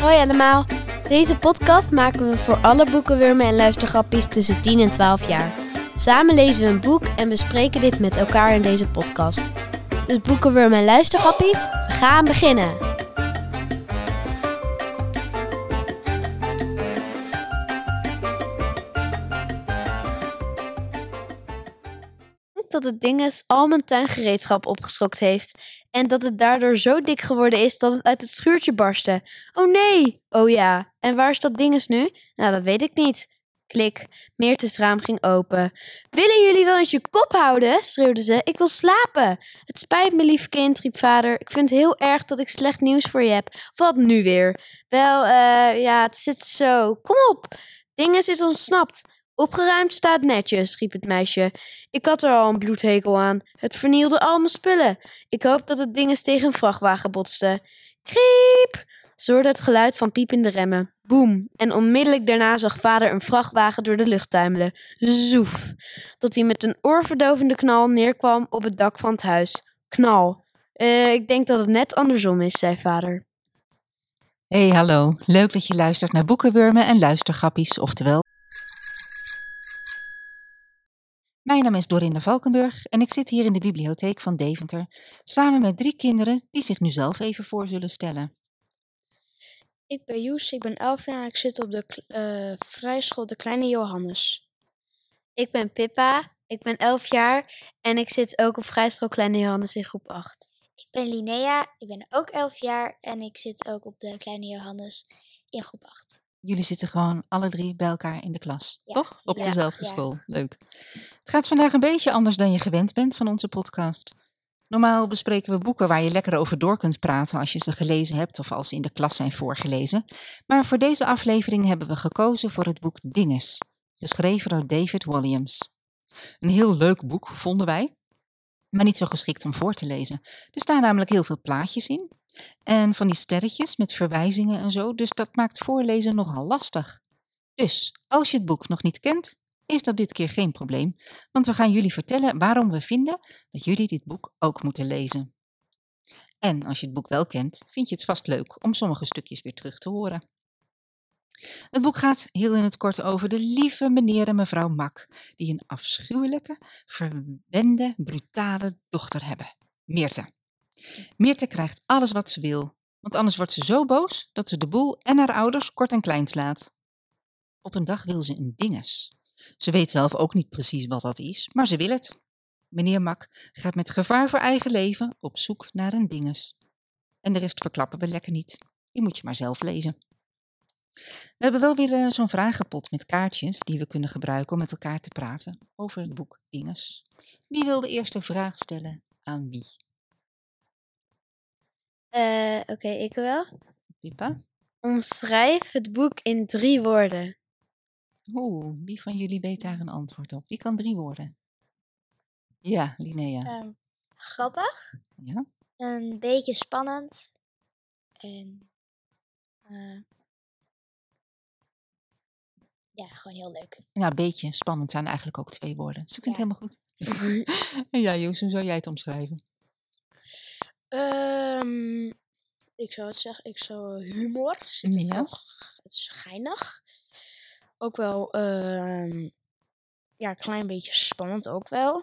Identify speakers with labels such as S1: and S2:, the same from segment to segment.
S1: Hoi allemaal. Deze podcast maken we voor alle boekenwurmen en luistergrappies tussen 10 en 12 jaar. Samen lezen we een boek en bespreken dit met elkaar in deze podcast. Dus boekenwurmen en luistergrappies, we gaan beginnen. Dat het ding is al mijn tuingereedschap opgeschokt heeft. En dat het daardoor zo dik geworden is dat het uit het schuurtje barstte. Oh nee! Oh ja. En waar is dat dinges nu? Nou, dat weet ik niet. Klik. Meertens raam ging open. Willen jullie wel eens je kop houden? schreeuwde ze. Ik wil slapen. Het spijt me, lief kind, riep vader. Ik vind het heel erg dat ik slecht nieuws voor je heb. Wat nu weer? Wel, eh, ja, het zit zo. Kom op. Dinges is ontsnapt. Opgeruimd staat netjes, riep het meisje. Ik had er al een bloedhekel aan. Het vernielde al mijn spullen. Ik hoop dat het dinges tegen een vrachtwagen botste. Kriep! Ze hoorde het geluid van piepende remmen. Boem. En onmiddellijk daarna zag vader een vrachtwagen door de lucht tuimelen. Zoef. Tot hij met een oorverdovende knal neerkwam op het dak van het huis. Knal. Eh, ik denk dat het net andersom is, zei vader.
S2: Hey, hallo. Leuk dat je luistert naar Boekenwurmen en Luistergrappies, oftewel... Mijn naam is Dorinda Valkenburg en ik zit hier in de bibliotheek van Deventer samen met drie kinderen die zich nu zelf even voor zullen stellen.
S3: Ik ben Joes, ik ben 11 jaar en ik zit op de k- eh, vrijschool De Kleine Johannes.
S1: Ik ben Pippa. Ik ben 11 jaar en ik zit ook op vrijschool Kleine Johannes in groep 8.
S4: Ik ben Linnea, ik ben ook 11 jaar en ik zit ook op de Kleine Johannes in groep 8.
S2: Jullie zitten gewoon alle drie bij elkaar in de klas,
S4: Ja.
S2: toch? Op
S4: Ja.
S2: dezelfde
S4: Ja.
S2: school. Leuk. Het gaat vandaag een beetje anders dan je gewend bent van onze podcast. Normaal bespreken we boeken waar je lekker over door kunt praten als je ze gelezen hebt of als ze in de klas zijn voorgelezen. Maar voor deze aflevering hebben we gekozen voor het boek Dinges, geschreven door David Williams. Een heel leuk boek, vonden wij, maar niet zo geschikt om voor te lezen. Er staan namelijk heel veel plaatjes in en van die sterretjes met verwijzingen en zo, dus dat maakt voorlezen nogal lastig. Dus als je het boek nog niet kent, is dat dit keer geen probleem, want we gaan jullie vertellen waarom we vinden dat jullie dit boek ook moeten lezen. En als je het boek wel kent, vind je het vast leuk om sommige stukjes weer terug te horen. Het boek gaat heel in het kort over de lieve meneer en mevrouw Mak, die een afschuwelijke, verwende, brutale dochter hebben, Meerte. Meerte krijgt alles wat ze wil, want anders wordt ze zo boos dat ze de boel en haar ouders kort en klein slaat. Op een dag wil ze een dinges. Ze weet zelf ook niet precies wat dat is, maar ze wil het. Meneer Mak gaat met gevaar voor eigen leven op zoek naar een dinges. En de rest verklappen we lekker niet. Die moet je maar zelf lezen. We hebben wel weer eh, zo'n vragenpot met kaartjes die we kunnen gebruiken om met elkaar te praten over het boek Dinges. Wie wil de eerste vraag stellen aan wie?
S1: Eh, Oké, ik wel.
S2: Pippa?
S1: Omschrijf het boek in drie woorden.
S2: Oeh, wie van jullie weet daar een antwoord op? Wie kan drie woorden? Ja, Linnea.
S4: Ehm, grappig,
S2: ja?
S4: een beetje spannend en eh, ja, gewoon heel leuk.
S2: Nou, een beetje spannend zijn eigenlijk ook twee woorden. Dus ik vind
S4: Ja.
S2: het helemaal goed. En ja, Joes, hoe zou jij het omschrijven?
S3: Ehm, ik zou het zeggen, ik zou eh, humor zitten
S2: Ja.
S3: nog. Het is geinig. Ook wel, ehm, ja, een klein beetje spannend ook wel.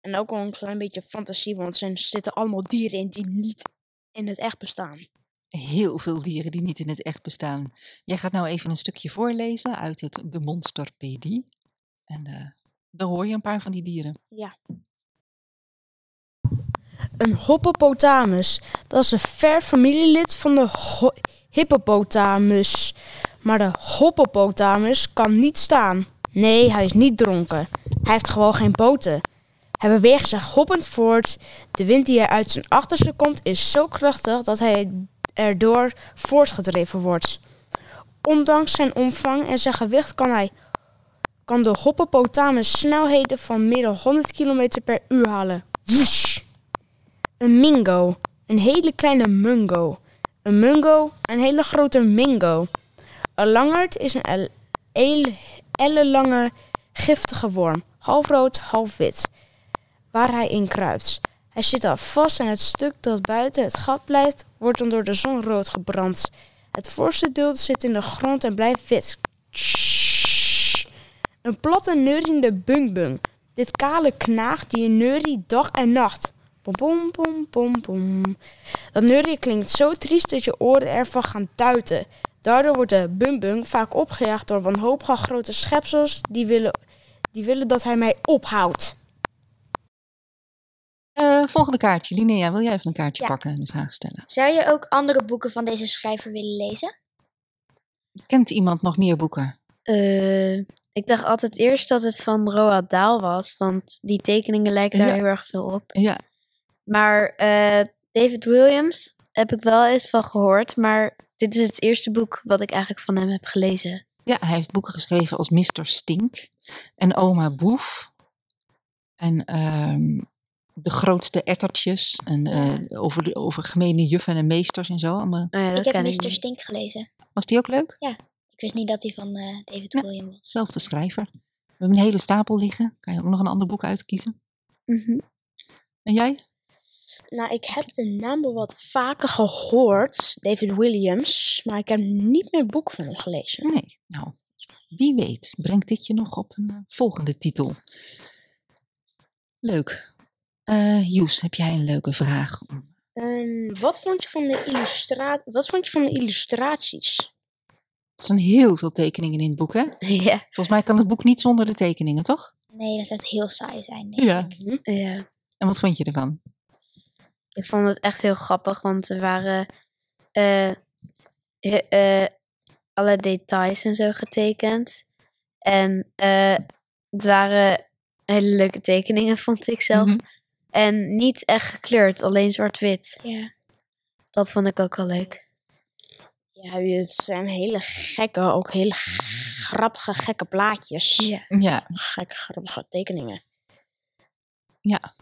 S3: En ook wel een klein beetje fantasie, want er zitten allemaal dieren in die niet in het echt bestaan.
S2: Heel veel dieren die niet in het echt bestaan. Jij gaat nou even een stukje voorlezen uit het De Monsterpedie. En eh, dan hoor je een paar van die dieren.
S3: Een hoppopotamus. Dat is een ver familielid van de ho- hippopotamus. Maar de hoppopotamus kan niet staan. Nee, hij is niet dronken. Hij heeft gewoon geen poten. Hij beweegt zich hoppend voort. De wind die er uit zijn achterste komt is zo krachtig dat hij erdoor voortgedreven wordt. Ondanks zijn omvang en zijn gewicht kan hij kan de hoppopotamus snelheden van meer dan 100 km per uur halen. Woesh! Een mingo. Een hele kleine mungo. Een mungo, een hele grote mingo. Een langert is een el- el- ellenlange, giftige worm. Half rood, half wit. Waar hij in kruipt. Hij zit al vast en het stuk dat buiten het gat blijft, wordt dan door de zon rood gebrand. Het voorste deel zit in de grond en blijft wit. Een platte neuriende bungbung. Dit kale knaagt die een neurie dag en nacht. Pom pom pom pom pom. Dat neurien klinkt zo triest dat je oren ervan gaan tuiten. Daardoor wordt de bungbung vaak opgejaagd door wanhopige grote schepsels die willen, die willen dat hij mij ophoudt.
S2: Eh, volgende kaartje. Linnea, wil jij even een kaartje
S4: Ja.
S2: pakken en een vraag stellen?
S4: Zou je ook andere boeken van deze schrijver willen lezen?
S2: Kent iemand nog meer boeken?
S1: Eh, ik dacht altijd eerst dat het van Roald Dahl was, want die tekeningen lijken daar
S2: Ja.
S1: heel erg veel op.
S2: Ja.
S1: Maar eh, David Williams heb ik wel eens van gehoord, maar dit is het eerste boek wat ik eigenlijk van hem heb gelezen.
S2: ja, hij heeft boeken geschreven als Mr. Stink en Oma Boef. En ehm, de grootste ettertjes en eh, over, de- over gemene juffen en meesters en zo. allemaal.
S1: Nou ja, dat
S4: ik heb
S1: ken
S4: Mr.
S1: niet.
S4: Stink gelezen.
S2: Was die ook leuk?
S4: Ik wist niet dat hij van eh, David
S2: Ja.
S4: William was.
S2: Zelfde schrijver. We hebben een hele stapel liggen. Kan je ook nog een ander boek uitkiezen?
S1: Mhm.
S2: En jij?
S3: Nou, ik heb de naam wel wat vaker gehoord, David Williams, maar ik heb niet meer boek van hem gelezen.
S2: Nee. Nou, wie weet brengt dit je nog op een eh, volgende titel. Leuk. Eh Joes, heb jij een leuke vraag?
S3: En wat vond je van de, illustra wat vond je van de illustraties?
S2: Er zijn heel veel tekeningen in het boek, hè?
S1: Ja,
S2: Volgens mij kan het boek niet zonder de tekeningen, toch?
S4: Nee, dat zou het heel saai zijn. denk
S2: Ja.
S4: ik.
S3: Hm?
S1: ja.
S2: En wat vond je ervan?
S1: Ik vond het echt heel grappig, want er waren eh, he- eh, alle details en zo getekend. En eh, het waren hele leuke tekeningen, vond ik zelf.
S2: Mhm.
S1: En niet echt gekleurd, alleen zwart-wit.
S4: Ja.
S1: Dat vond ik ook wel leuk.
S3: Ja, het zijn hele gekke, ook hele grappige, gekke plaatjes.
S2: Ja.
S3: Gekke, grappige tekeningen.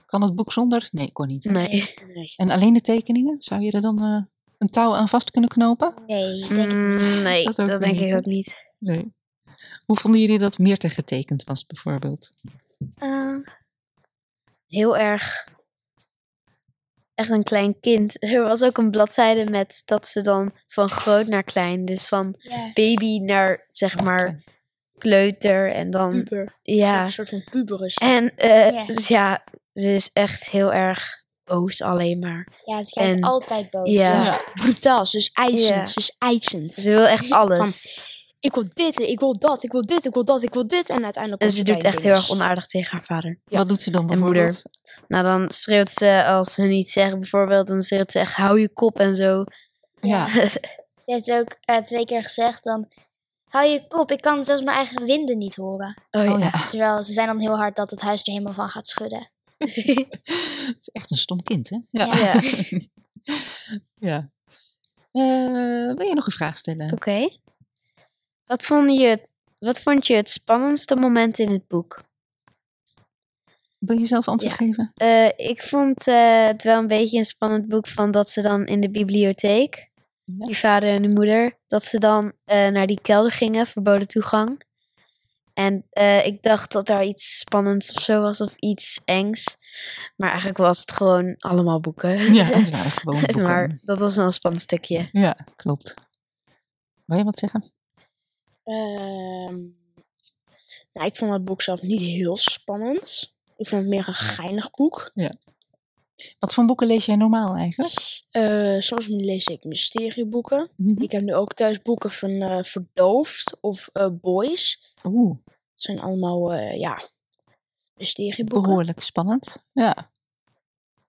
S2: Kan het boek zonder? Nee, kon niet.
S1: Nee.
S3: Nee.
S2: En alleen de tekeningen? Zou je er dan eh, een touw aan vast kunnen knopen?
S4: Nee, ik denk
S1: Mm, nee,
S2: Dat
S1: dat,
S2: ook weer
S1: denk
S2: niet,
S1: ik
S2: hè?
S1: ook niet.
S2: Nee. Hoe vonden jullie dat Meerte getekend was, bijvoorbeeld?
S4: Eh,
S1: Heel erg. Echt een klein kind. Er was ook een bladzijde met dat ze dan van groot naar klein. Dus van
S4: ja.
S1: baby naar zeg maar kleuter en dan
S3: Puber.
S1: ja
S3: Ehm, Een soort van puber is.
S1: en eh,
S4: Ja.
S1: z- Mm. ja ze is echt heel erg boos alleen maar
S4: ja, ze kijkt
S1: En-
S4: altijd boos.
S1: ja.
S3: Brutaal, ze is eisend.
S1: Ja.
S3: Ze is eisend.
S1: ze wil echt alles
S3: ik wil dit, ik wil dat, ik wil dit, ik wil dat, ik wil dit. En uiteindelijk
S1: en
S3: komt
S1: ze
S3: het
S1: doet
S3: bij
S1: echt heel erg
S3: niks.
S1: onaardig tegen haar vader
S3: Ja.
S2: Wat doet ze dan
S1: En moeder.
S2: bijvoorbeeld?
S1: nou dan schreeuwt ze als ze niet zeggen bijvoorbeeld dan schreeuwt ze echt hou je kop en zo
S2: Ja.
S4: Ze heeft ook eh, twee keer gezegd dan... Hou je kop, ik kan zelfs mijn eigen winden niet horen.
S1: oh,
S2: Oh
S1: ja.
S2: ja.
S4: Terwijl ze zijn dan heel hard dat het huis er helemaal van gaat schudden.
S2: Het is echt een stom kind, hè?
S4: Ja.
S1: Ja.
S2: Ja. Eh, wil je nog een vraag stellen?
S1: oké wat vond je het wat vond je het spannendste moment in het boek
S2: Wil je zelf antwoord geven?
S1: Eh, ik vond eh, het wel een beetje een spannend boek van dat ze dan in de bibliotheek,
S2: Ja.
S1: die vader en de moeder, dat ze dan eh, naar die kelder gingen, verboden toegang. En eh, ik dacht dat daar iets spannends of zo was, of iets engs. Maar eigenlijk was het gewoon allemaal boeken.
S2: Ja, het waren gewoon boeken.
S1: maar dat was wel een spannend stukje.
S2: Ja, klopt. Wil je wat zeggen?
S3: Ehm, nou, ik vond het boek zelf niet heel spannend. Ik vond het meer een geinig boek.
S2: Wat voor boeken lees jij normaal eigenlijk?
S3: Eh, soms lees ik mysterieboeken.
S2: Mhm.
S3: Ik heb nu ook thuis boeken van eh, Verdoofd of eh, Boys.
S2: Oeh,
S3: Dat zijn allemaal, eh, ja, mysterieboeken.
S2: behoorlijk spannend. Ja.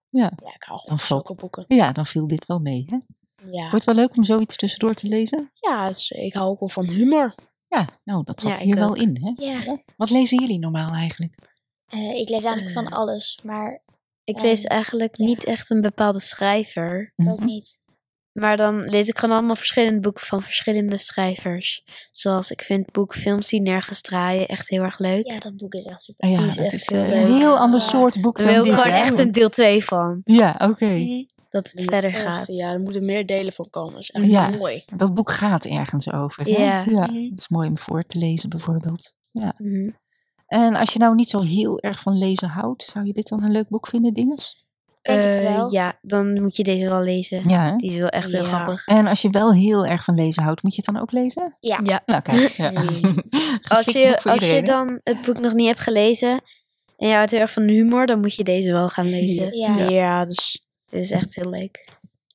S3: Ja, ik hou
S2: Dan
S3: gewoon van
S2: valt-
S3: zulke boeken.
S2: ja, dan viel dit wel mee. Hè?
S3: Ja,
S2: Wordt wel leuk om zoiets tussendoor te lezen?
S3: ja het is- ik hou ook wel van humor.
S2: Ja, nou, dat zat
S1: Ja, ik
S2: hier wel
S1: ook.
S2: in. Hè?
S4: Ja.
S2: Wat lezen jullie normaal eigenlijk?
S4: Eh, ik lees eigenlijk van
S1: Eh.
S4: alles, maar
S1: Ik lees
S4: Ehm,
S1: eigenlijk niet echt een bepaalde schrijver.
S4: ook
S2: Mhm.
S4: niet.
S1: Maar dan lees ik gewoon allemaal verschillende boeken van verschillende schrijvers. Zoals ik vind het boek Films die nergens draaien echt heel erg leuk.
S4: Ja, dat boek is echt super.
S2: Ah
S1: Die
S2: Ja,
S1: is
S2: dat
S1: echt
S2: is
S1: heel
S2: eh, een
S1: leuk.
S2: heel ander
S4: Ja.
S2: soort boek
S1: Daar
S2: dan
S1: wil
S2: dit.
S1: ik gewoon
S2: hè?
S1: echt een deel 2 van.
S2: Ja, oké.
S1: Dat het
S3: Dat
S1: verder
S3: moet echt-
S1: gaat.
S3: Ja, er moeten meer delen van komen. Dat is echt
S2: Ja.
S3: mooi.
S2: Dat boek gaat ergens over. Hè?
S1: Ja.
S4: Mhm.
S2: Dat is mooi om voor te lezen bijvoorbeeld.
S1: Mhm.
S2: En als je nou niet zo heel erg van lezen houdt, zou je dit dan een leuk boek vinden, Dinges?
S4: Denk het
S1: Eh,
S4: wel.
S1: Ja, dan moet je deze wel lezen.
S2: Ja, hè?
S1: Die is wel echt heel
S3: Ja.
S1: grappig.
S2: En als je wel heel erg van lezen houdt, moet je het dan ook lezen?
S4: Ja.
S1: Ja.
S2: Nou, kijk. Ja. Geschikt
S1: Als
S2: boek
S1: je,
S2: voor
S1: als je
S2: iedereen, hè?
S1: dan het boek nog niet hebt gelezen en je houdt heel erg van humor, dan moet je deze wel gaan lezen.
S4: Ja.
S3: Ja, dus
S1: Dit is echt heel leuk.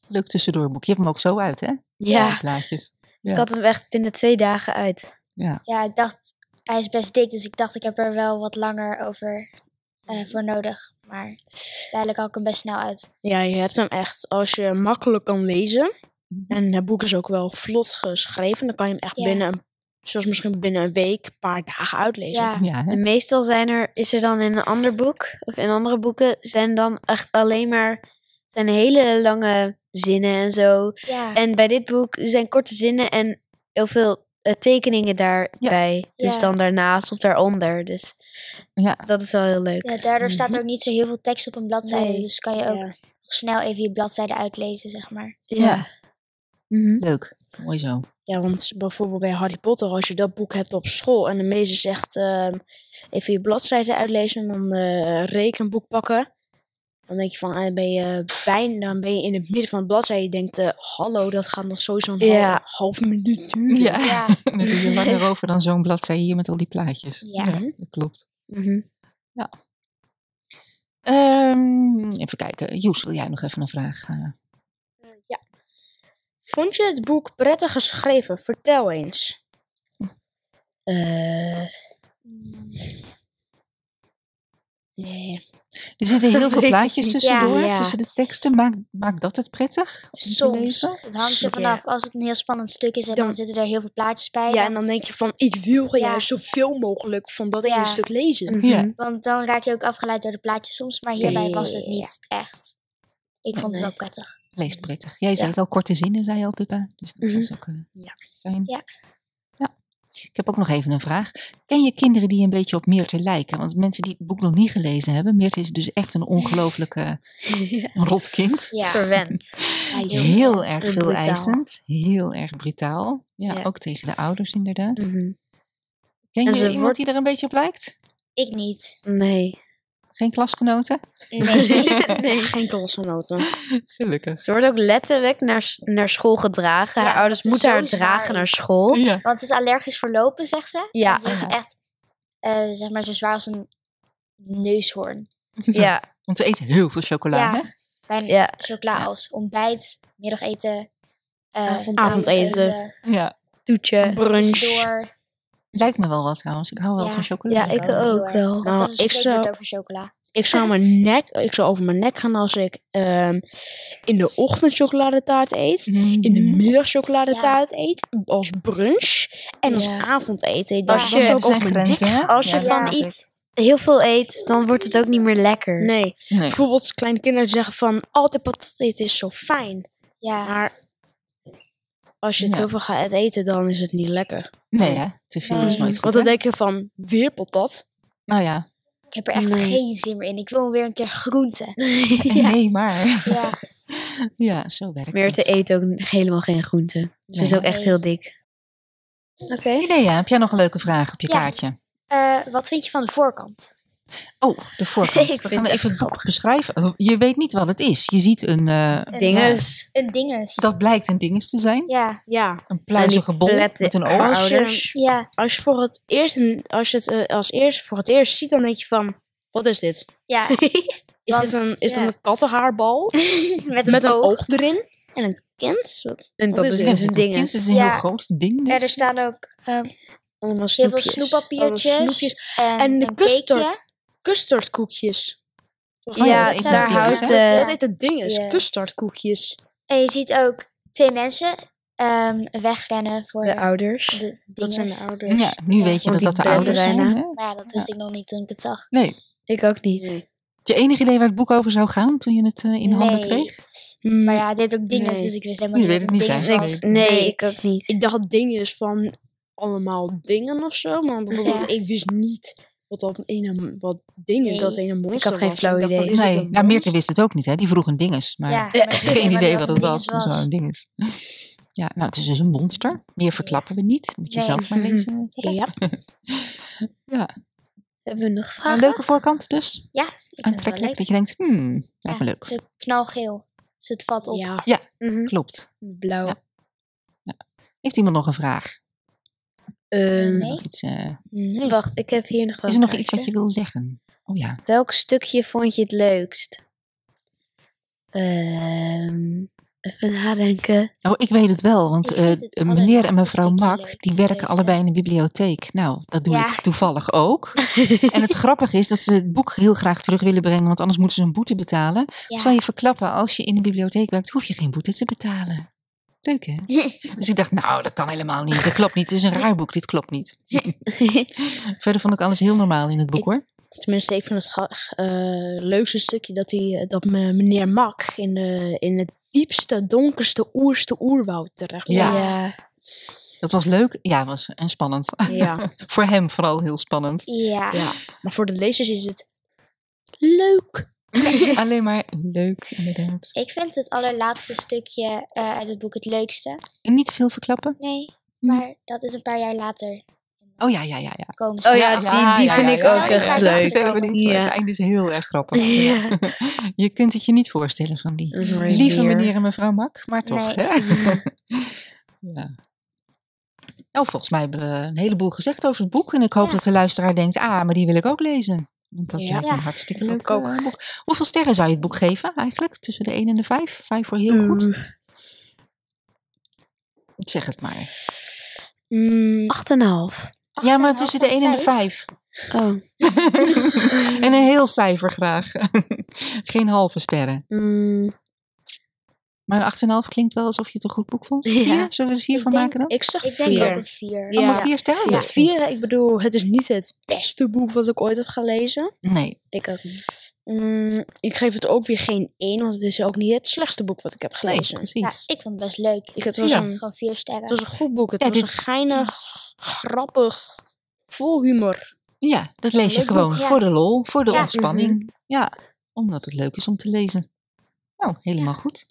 S2: Leuk tussendoorboek. Je hebt hem ook zo uit, hè?
S1: Ja,
S2: Plaatjes. Ja.
S1: ik had hem echt binnen twee dagen uit.
S4: Ja, ik dacht, hij is best dik, dus ik dacht ik heb er wel wat langer over eh, voor nodig. Maar uiteindelijk had ik hem best snel uit.
S3: ja, je hebt hem echt als je makkelijk kan lezen. En het boek is ook wel vlot geschreven. Dan kan je hem echt
S4: Ja.
S3: binnen, een- zoals misschien binnen een week, een paar dagen uitlezen.
S4: Ja,
S2: Ja, hè?
S1: En meestal zijn er, is er dan in een ander boek, of in andere boeken, zijn dan echt alleen maar zijn hele lange zinnen en zo.
S4: ja,
S1: En bij dit boek zijn korte zinnen en heel veel eh, tekeningen daarbij. Dus
S4: Ja.
S1: dan daarnaast of daaronder. Dus
S2: ja.
S1: dat is wel heel leuk.
S4: ja eh, daardoor staat er ook niet zo heel veel tekst op een bladzijde.
S1: Nee.
S4: Dus kan je ook nog snel even je bladzijde uitlezen, zeg maar.
S1: Ja. Mhm.
S2: Leuk. Mooi zo.
S3: Ja, want bijvoorbeeld bij Harry Potter, als je dat boek hebt op school en de meester zegt ehm, even je bladzijden uitlezen en dan eh rekenboek pakken. Dan denk je van, eh, ben je bijna dan ben je in het midden van de bladzijde. Je denkt, eh, hallo, dat gaat nog sowieso een hal-
S1: Ja.
S3: half minuut duren.
S2: Ja.
S4: Ja.
S2: Dan doe je langer over dan zo'n bladzijde hier met al die plaatjes.
S4: Ja.
S2: dat klopt.
S1: Mhm.
S2: Ehm, even kijken. Joes, wil jij nog even een vraag? eh?
S3: Vond je het boek prettig geschreven? Vertel eens. Eh. Nee.
S2: Er zitten heel veel
S1: Weet ik
S2: plaatjes
S1: niet.
S2: tussendoor,
S3: Ja, ja.
S2: tussen de teksten. Maakt, maakt dat het prettig? om te
S4: Soms.
S2: lezen?
S4: Het hangt er
S3: Ja.
S4: vanaf. Als het een heel spannend stuk is en dan,
S3: Dan-
S4: zitten er heel veel plaatjes bij.
S3: Ja,
S4: dan-
S3: en dan denk je van, ik wil
S4: Ja.
S3: juist zoveel mogelijk van dat
S4: Ja.
S3: ene stuk lezen.
S1: Mhm.
S2: Ja.
S4: want dan raak je ook afgeleid door de plaatjes soms. Maar hierbij was het
S3: Ja.
S4: niet echt. Ik vond het wel prettig.
S2: Leest prettig. Jij zei
S3: Ja.
S2: het al, korte zinnen, zei je al, Pippa. Dus dat
S1: Mhm.
S2: was ook eh,
S3: Ja.
S2: fijn.
S4: Ja.
S2: Ja. Ik heb ook nog even een vraag. Ken je kinderen die een beetje op Meerte lijken? Want mensen die het boek nog niet gelezen hebben. Meerte is dus echt een ongelooflijke rot kind.
S4: Ja.
S1: Verwend.
S3: Hij is
S2: Heel
S3: ontzettend
S2: erg
S1: eh, brutaal.
S2: veel eisend. Heel erg brutaal. Ja,
S1: Ja.
S2: ook tegen de ouders inderdaad.
S1: Mhm.
S2: Ken
S1: En
S2: je
S1: ze
S2: iemand
S1: wordt-
S2: die er een beetje op lijkt?
S4: Ik niet.
S1: Nee.
S2: Geen klasgenoten?
S4: Nee.
S1: nee.
S3: Geen klasgenoten.
S2: Gelukkig.
S1: Ze wordt ook letterlijk naar, s- naar school gedragen.
S4: Ja,
S1: Haar ouders
S4: dat ze
S1: moeten haar
S4: zo zwaar
S1: dragen
S4: is.
S1: naar school.
S2: Ja.
S4: Want ze is allergisch voor lopen, zegt ze.
S1: Ja.
S4: Het is
S2: Ah.
S4: echt, eh, zeg maar, zo zwaar als een neushoorn.
S1: Ja,
S2: Want ze eet heel veel chocola,
S4: Ja.
S2: hè?
S4: Bijna
S1: ja.
S4: chocola
S2: Ja.
S4: als ontbijt, middageten, eh,
S3: Avondeten.
S2: Ja.
S1: Toetje.
S3: Brunch.
S4: tussendoor.
S2: Lijkt me wel wat trouwens. Ik hou wel
S4: Ja.
S2: van chocola. Mm.
S1: Ja, ik
S4: ook heel
S1: ook
S4: erg.
S1: wel.
S4: Dat
S3: Nou,
S4: was
S3: ik
S4: een
S3: zou-
S4: spreekwoord over chocola.
S3: Ik zou, mijn nek, ik zou over mijn nek gaan als ik ehm, in de ochtend chocoladetaart eet. In
S2: Mhm.
S3: de middag chocoladetaart eet. Als brunch. En als
S4: Ja.
S3: avondeten eet.
S1: Als
S3: Dat
S1: je-
S3: was ook
S2: Oh, Er zijn
S3: over mijn
S2: grenzen, hè?
S3: nek.
S1: Als je
S2: Ja,
S1: van
S2: snap ik.
S1: iets heel veel eet, dan wordt het ook niet meer lekker.
S3: Nee.
S2: Nee.
S3: Bijvoorbeeld kleine kinderen zeggen van altijd patat eten is zo fijn.
S4: Ja,
S3: Maar als je het
S2: Ja.
S3: heel veel gaat eten, dan is het niet lekker.
S2: Nee, hè? Te veel is
S4: Nee.
S2: nooit goed.
S3: Want dan
S2: hè?
S3: denk je van weer patat.
S2: Nou ja.
S4: ik heb er echt
S1: Nee.
S4: geen zin meer in. Ik wil weer een keer groente.
S2: En Nee, maar.
S4: Ja,
S2: Ja, zo werkt
S1: Meerte
S2: het.
S1: eet ook helemaal geen groenten.
S3: Dus
S1: Ze is
S2: Nee.
S1: ook echt heel dik. Oké.
S2: Idea, heb jij nog een leuke vraag op je
S4: Ja.
S2: kaartje?
S4: Eh, wat vind je van de voorkant?
S2: Oh, de voorkant.
S1: Ik
S2: We
S1: vind
S2: gaan
S1: het
S2: even het
S1: echt
S2: boek beschrijven. Oh, Je weet niet wat het is. Je ziet een... eh,
S4: Een-
S1: Dinges.
S4: Een dinges.
S2: dat blijkt een dinges te zijn.
S4: Ja,
S3: Ja,
S2: Een pluizige bol
S1: Plette
S2: met een oor.
S3: Als je-
S1: ouders.
S4: ja,
S3: als je, voor het eerst, een- als je het eh, als eerst, voor het eerst ziet, dan denk je van wat is dit?
S4: ja.
S3: Is
S4: Want-
S3: dit een, is
S4: ja.
S3: dit een kattenhaarbal?
S4: Met een
S3: Met een
S4: oog.
S3: oog erin? En een kind? Wat-
S1: En dat
S3: is
S1: is
S3: dit?
S2: Ja,
S1: dus een
S2: Het is een kind,
S1: dinges.
S2: het is een
S4: Ja.
S2: heel groot ding.
S4: En
S2: dus.
S4: er staan ook ehm,
S1: Allemaal
S4: heel veel
S1: snoepjes.
S4: snoeppapiertjes.
S3: Allemaal Oh, snoepjes.
S4: En,
S3: En de
S4: een
S3: custard.
S4: cakeje.
S3: Custardkoekjes.
S2: Oh ja,
S1: Ja,
S2: dat zijn
S1: daar
S2: ook dinges,
S1: houdt...
S4: hè?
S1: eh,
S3: Dat heet het ding is,
S1: Ja.
S3: custardkoekjes.
S4: En je ziet ook twee mensen ehm, wegrennen voor
S1: de
S4: de,
S1: ouders.
S3: Dat zijn de
S4: dinges.
S3: ouders.
S2: Ja, nu
S4: Ja,
S2: weet je
S1: dus- want
S2: dat
S1: die
S2: dat de
S1: bellen
S2: ouders zijn.
S1: bijna.
S2: hè?
S4: Maar ja, dat wist ik nog niet toen ik het zag.
S2: Nee. Heb
S1: Ik ook niet.
S3: Nee.
S2: je enig idee waar het boek over zou gaan toen je het eh, in handen
S4: Nee.
S2: kreeg?
S3: Mm.
S4: Maar ja, dit ook dinges,
S1: Nee.
S4: dus ik wist helemaal
S2: Je
S4: niet
S2: weet het niet,
S4: dinges
S2: hè?
S4: was.
S1: Dus Ik- nee, ik ook niet.
S3: Ik dacht dingen is van allemaal dingen of zo. Maar bijvoorbeeld, ik wist niet wat dat ene wat dingen, dat
S4: Nee.
S3: ene monster
S1: had geen
S3: was.
S1: flauw
S3: dacht, wat
S1: idee.
S3: is dit,
S2: Nee,
S3: een
S2: nou Meerte
S3: monster?
S2: wist het ook niet, hè? Die vroeg een dinges, maar
S4: Ja, maar ik wist
S2: geen
S4: helemaal
S2: idee
S4: niet
S2: wat het was. dus-
S4: dinges
S2: Zo'n dinges. Ja, nou, het is dus een monster. Meer verklappen we niet. Moet je
S4: Nee.
S2: zelf maar lezen.
S3: Ja.
S2: Ja.
S1: Hebben we nog
S2: Een
S1: vragen?
S2: leuke voorkant dus.
S4: Ik vind het wel dus
S2: Aantrekkelijk. Dat je denkt, hmm, lijkt me
S4: Het
S2: leuk.
S4: is ook knalgeel. Dus het valt op.
S3: Ja.
S1: Mhm.
S2: Klopt.
S1: Blauw.
S2: Ja. Heeft iemand nog een vraag?
S1: Eh,
S4: Nee.
S2: Nog iets, eh,
S1: Wacht, ik heb hier nog wel
S2: is er nog
S1: een
S2: iets wat
S1: kaartje.
S2: je wil zeggen? Oh ja.
S1: Welk stukje vond je het leukst? Ehm, even nadenken.
S2: Oh, ik weet het wel, want
S4: Ik vind
S2: eh,
S4: het
S2: eh, meneer en
S4: allerlaatste
S2: mevrouw
S4: stukje
S2: Mak,
S4: leuk,
S2: die werken
S4: leukste.
S2: allebei in de bibliotheek. Nou, dat doe
S4: Ja.
S2: ik toevallig ook. en het grappige is dat ze het boek heel graag terug willen brengen, want anders moeten ze een boete betalen.
S4: Ja.
S2: Zou je verklappen, als je in de bibliotheek werkt, hoef je geen boete te betalen. Leuk hè? Dus ik dacht, nou, dat kan helemaal niet. Dat klopt niet. Het is een raar boek. Dit klopt niet. Oh, Verder vond ik alles heel normaal in het boek
S3: Ik-
S2: hoor.
S3: Tenminste, ik vind het gra- eh, leukste stukje dat, hij, eh, dat me- meneer Mak in, de, in het diepste, donkerste, oerste oerwoud terecht
S2: Ja.
S3: komt.
S1: ja.
S2: Dat was leuk. Ja, was en spannend.
S3: Ja.
S2: Voor hem vooral heel spannend.
S4: ja.
S3: ja. Maar voor de lezers is het leuk.
S2: Alleen maar leuk, inderdaad.
S4: Ik vind het allerlaatste stukje eh, uit het boek het leukste.
S2: En niet veel verklappen.
S4: Nee,
S2: Hm.
S4: maar dat is een paar jaar later
S2: Oh ja, ja, ja. ja.
S4: komen
S1: Oh ja, die- die vind ik ook
S4: echt
S2: ja,
S4: leuk.
S2: Dat vertellen we niet, maar
S1: Ja.
S2: het einde is heel erg grappig.
S1: Ja.
S2: Je kunt het je niet voorstellen van die
S1: Een
S2: lieve
S1: reindeer.
S2: meneer en mevrouw Mak, maar toch.
S4: Nee.
S2: Hè? ja. Nou, volgens mij hebben we een heleboel gezegd over het boek. En ik hoop
S4: Ja.
S2: dat de luisteraar denkt, ah, maar die wil ik ook lezen. Want dat
S3: Ja.
S2: lijkt me
S4: Ja.
S2: een hartstikke
S3: Ik
S2: leuk
S3: ook.
S2: eh, boek. Hoeveel sterren zou je het boek geven eigenlijk? Tussen de 1 en de 5? 5 voor heel goed?
S1: Mm,
S2: Zeg het maar.
S3: Mm,
S1: Acht en een half.
S2: Ja, maar tussen de 1 en de 5.
S1: Oh.
S2: en een heel cijfer graag. Geen halve sterren.
S1: Mm,
S2: Maar een 8,5 klinkt wel alsof je het een goed boek vond.
S1: Ja.
S2: Vier? Zullen we er vier
S4: Ik
S2: van
S4: denk-
S2: maken dan?
S3: ik zeg
S4: Ik denk ook een
S3: vier.
S4: vier.
S3: Ja.
S2: Allemaal vier sterren?
S3: Ja,
S2: Dat-
S3: vier, ik bedoel, het is niet het beste boek wat ik ooit heb gelezen. eh,
S2: Nee,
S1: ik ook niet.
S3: Mm, ik geef het ook weer geen één, want het is ook niet het slechtste boek wat ik heb
S2: nee
S3: gelezen.
S4: Ja,
S2: precies.
S4: ik vond het best leuk.
S3: Ik-
S4: Ik
S3: het
S4: het
S3: was
S4: was
S3: een-
S4: gewoon vier sterren.
S3: Het was een goed boek. Het
S2: Ja,
S3: was
S2: dit-
S3: een geinig, grappig, vol humor.
S2: Ja, dat lees je
S4: leuk boek,
S2: gewoon
S4: ja.
S2: voor de lol, voor de
S4: Ja.
S1: Mhm.
S2: ontspanning. Ja, omdat het leuk is om te lezen. Nou, helemaal goed.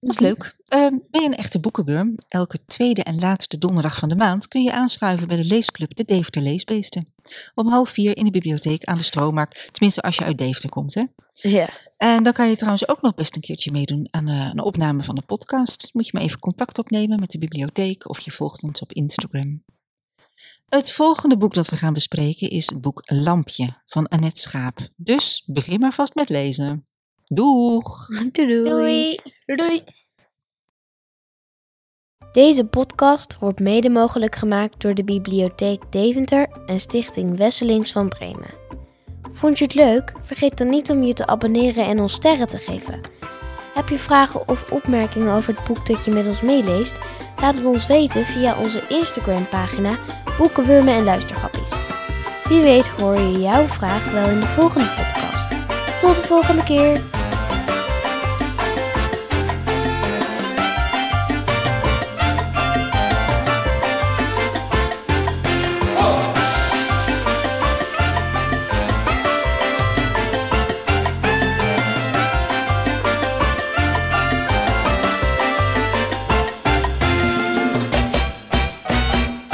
S2: Dat is leuk. Ehm, ben je een echte boekenburm? Elke tweede en laatste donderdag van de maand kun je aanschuiven bij de leesclub De Deventer Leesbeesten. Om half vier in de bibliotheek aan de Stroomarkt. Tenminste, als je uit Deventer komt, hè?
S1: Ja.
S2: En dan kan je trouwens ook nog best een keertje meedoen aan eh, een opname van de podcast. Moet je maar even contact opnemen met de bibliotheek of je volgt ons op Instagram. Het volgende boek dat we gaan bespreken is het boek Lampje van Annette Schaap. Dus begin maar vast met lezen. Doeg!
S1: Mhm. Doei.
S4: Doei.
S3: Doei doei!
S1: Deze podcast wordt mede mogelijk gemaakt door de Bibliotheek Deventer en Stichting Wesselings van Bremen. Vond je het leuk? Vergeet dan niet om je te abonneren en ons sterren te geven. Heb je vragen of opmerkingen over het boek dat je met ons meeleest? Laat het ons weten via onze Instagram-pagina Boekenwurmen en Luistergrappies. Wie weet hoor je jouw vraag wel in de volgende podcast. Tot de volgende keer!